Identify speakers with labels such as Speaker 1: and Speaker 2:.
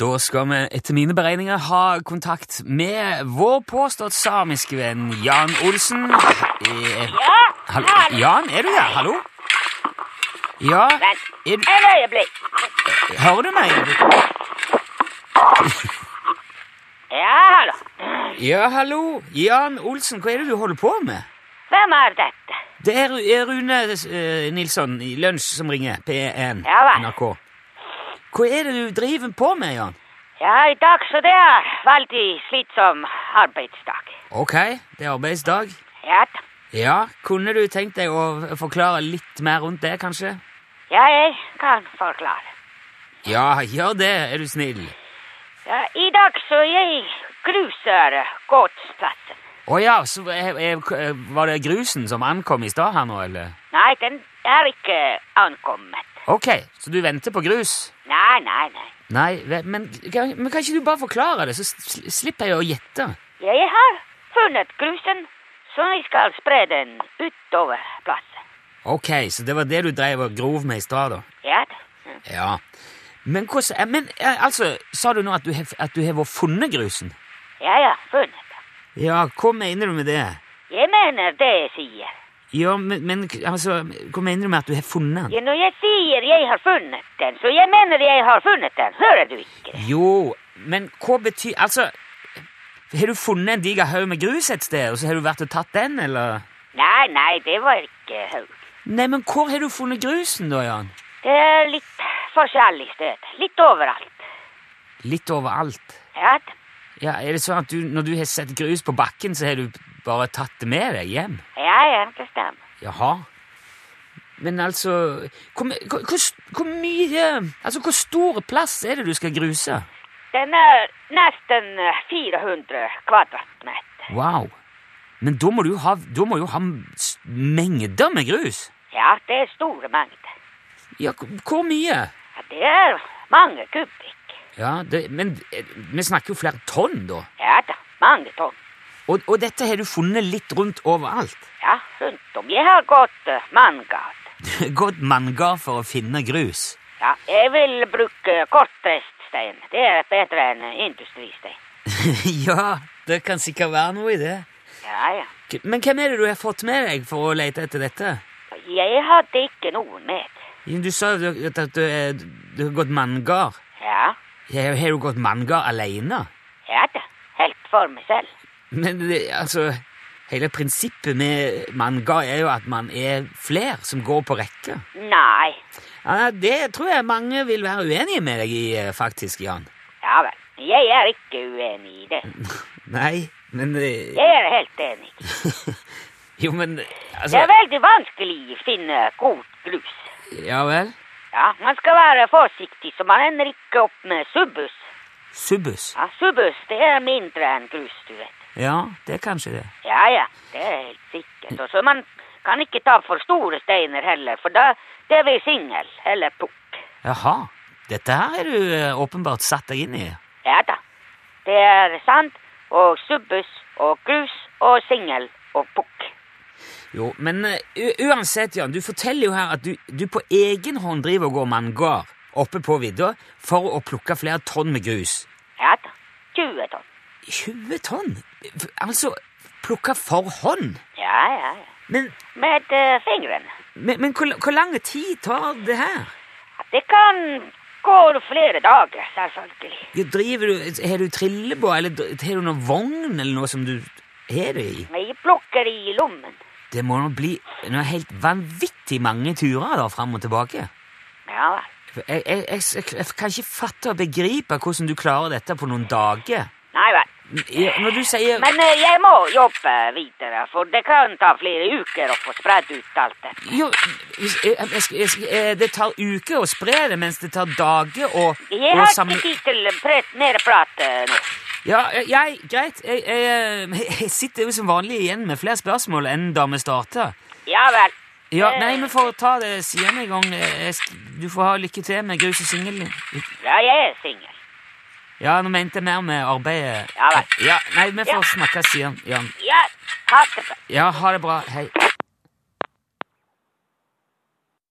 Speaker 1: Da skal vi etter mine beregninger ha kontakt med vår påstått samiske venn Jan Olsen. Eh,
Speaker 2: Ja,
Speaker 1: hallo. Jan, er du der? Hallo? Ja,
Speaker 2: vent.
Speaker 1: er du,
Speaker 2: Et øyeblikk.
Speaker 1: hører du meg?
Speaker 2: Ja, hallo.
Speaker 1: Ja, hallo. Jan Olsen, hva er det du holder på med?
Speaker 2: Hvem er dette?
Speaker 1: Det er Ru- er Rune eh, Nilsson i Lunsj som ringer, P1
Speaker 2: Ja vel.
Speaker 1: NRK. Hva er det du driver på med, Jan?
Speaker 2: Ja, i dag så det er veldig slitsom arbeidsdag.
Speaker 1: Ok, det er arbeidsdag.
Speaker 2: Ja, da.
Speaker 1: Ja, kunne du tenkt deg å forklare litt mer rundt det, kanskje?
Speaker 2: ja jeg kan forklare.
Speaker 1: Ja, gjør det, er du snill.
Speaker 2: Ja, I dag så jeg gruser gårdsplasser.
Speaker 1: Å ja, så eh, er, er, var det grusen som ankom i stad her nå, eller?
Speaker 2: Nei, den er ikke ankommet.
Speaker 1: Ok, så du venter på grus?
Speaker 2: Nei, nei, nei.
Speaker 1: Nei, ve- men kan, men kan ikke du bare forklare det, så sl- slipper jeg å gjette?
Speaker 2: Jeg har funnet grusen, så jeg skal spre den utover plassen.
Speaker 1: Ok, så det var det du dreiv og grov med i stad, da?
Speaker 2: Ja, da.
Speaker 1: Ja. Men hvordan eh, Men eh, altså, sa du nå at du har at du har funnet grusen?
Speaker 2: ja, ja, funnet.
Speaker 1: Ja, hva mener du med det?
Speaker 2: Jeg mener det jeg sier.
Speaker 1: Ja, men, men altså, hva mener du med at du har funnet den?
Speaker 2: Ja, når jeg sier jeg har funnet den, så jeg mener jeg har funnet den. Hører du ikke?
Speaker 1: Jo, men hva betyr Altså, har du funnet en diger haug med grus et sted, og så har du vært og tatt den, eller?
Speaker 2: Nei, nei, det var ikke haug.
Speaker 1: Nei, men hvor har du funnet grusen, da, Jan?
Speaker 2: Det er litt forskjellig sted. Litt overalt.
Speaker 1: Litt overalt.
Speaker 2: Ja, da.
Speaker 1: Ja, Er det sånn at du, når du har sett grus på bakken, så har du bare tatt det med deg hjem?
Speaker 2: ja, ja, det stemmer.
Speaker 1: Jaha. Men altså Hvor, my- hvor, hvor, s- hvor mye Altså, hvor stor plass er det du skal gruse?
Speaker 2: Den er nesten eh, 400 kvadratmeter.
Speaker 1: Wow. Men da må du ha, da må jo ha s- mengder med grus.
Speaker 2: Ja, det er store mengder.
Speaker 1: Ja, hvor hvor mye?
Speaker 2: Ja, det er mange kubikk.
Speaker 1: Ja, det, men eh, vi snakker jo flere tonn, da.
Speaker 2: Ja da, mange tonn.
Speaker 1: Og, og dette har du funnet litt rundt overalt.
Speaker 2: Ja, rundt om. Jeg har gått eh, manngard.
Speaker 1: Gått manngard for å finne grus.
Speaker 2: Ja, jeg vil bruke kortreiststein. Det er bedre enn industristein.
Speaker 1: ja, det kan sikkert være noe i det.
Speaker 2: Ja, ja.
Speaker 1: K- Men hvem er det du har fått med deg for å lete etter dette?
Speaker 2: Jeg hadde ikke noen med.
Speaker 1: Du sa jo at at du, er- du har gått manngard.
Speaker 2: Ja,
Speaker 1: Har har du gått manngard alene?
Speaker 2: ja da. Helt for meg selv.
Speaker 1: Men det, altså Hele prinsippet med manngard er jo at man er flere som går på rekke.
Speaker 2: Nei.
Speaker 1: Ja, det tror jeg mange vil være uenige med deg i, eh, faktisk, Jan.
Speaker 2: Ja vel. Jeg er ikke uenig i det.
Speaker 1: Nei, men eh,
Speaker 2: Jeg er helt enig.
Speaker 1: Jo, men
Speaker 2: Det
Speaker 1: altså
Speaker 2: er veldig vanskelig å finne god grus.
Speaker 1: Ja vel?
Speaker 2: Ja, man skal være forsiktig, så man ender ikke opp med subbus.
Speaker 1: Subbus.
Speaker 2: Ja, subbus, det er mindre enn grus, du vet.
Speaker 1: Ja, det er kanskje det.
Speaker 2: Ja, ja, det er helt sikkert. Og så man kan ikke ta for store steiner heller, for da det blir singel eller pukk.
Speaker 1: Jaha. Dette her er du eh, åpenbart satt deg inn i.
Speaker 2: Ja da. Det er sand og subbus og grus og singel og pukk.
Speaker 1: Jo, men eh, u uansett, Jan, du forteller jo her at du, du på egen hånd driver og går manngard oppe på vidda for å plukke flere tonn med grus.
Speaker 2: Ja da. 20 tonn.
Speaker 1: 20 tonn? F- Altså, plukke for hånd?
Speaker 2: Ja, ja, ja.
Speaker 1: Men,
Speaker 2: Med eh, fingrene.
Speaker 1: men, men hvor, hvor lang tid tar det her?
Speaker 2: Det kan gå flere dager, selvfølgelig.
Speaker 1: Ja, Driver du, Har du trillebår, eller dr- har du noen vogn eller noe som du har det i?
Speaker 2: Jeg plukker i lommen.
Speaker 1: Det må nå bli noe helt vanvittig mange turer da, fram og tilbake.
Speaker 2: Ja vel.
Speaker 1: Jeg, jeg, jeg, jeg kan ikke fatte og begripe hvordan du klarer dette på noen dager.
Speaker 2: Nei vel.
Speaker 1: Ja, Når du sier
Speaker 2: Men eh, jeg må jobbe videre, for det kan ta flere uker å få spredd ut alt dette.
Speaker 1: jo, hvis- jeg, jeg, skal- jeg, skal- eh, Det tar uker å spre det, mens det tar dager å,
Speaker 2: Jeg
Speaker 1: å
Speaker 2: har
Speaker 1: samle
Speaker 2: ikke tid til pret mer prat eh, nå.
Speaker 1: Ja, eh, jeg, greit. Jeg, jeg, jeg sitter jo som vanlig igjen med flere spørsmål enn da vi starta.
Speaker 2: Ja vel.
Speaker 1: Ja,
Speaker 2: Eh.
Speaker 1: nei, vi får ta det senere en gang. Eh, jeg sk- Du får ha lykke til med grus og singel.
Speaker 2: Ja, jeg er singel.
Speaker 1: Ja, nå mente jeg mer med arbeidet.
Speaker 2: Ja vel.
Speaker 1: Ja, nei, vi får
Speaker 2: Ja.
Speaker 1: snakkes igjen, Jan.
Speaker 2: Ja, ha det bra.
Speaker 1: Ja, ha det bra. Hei.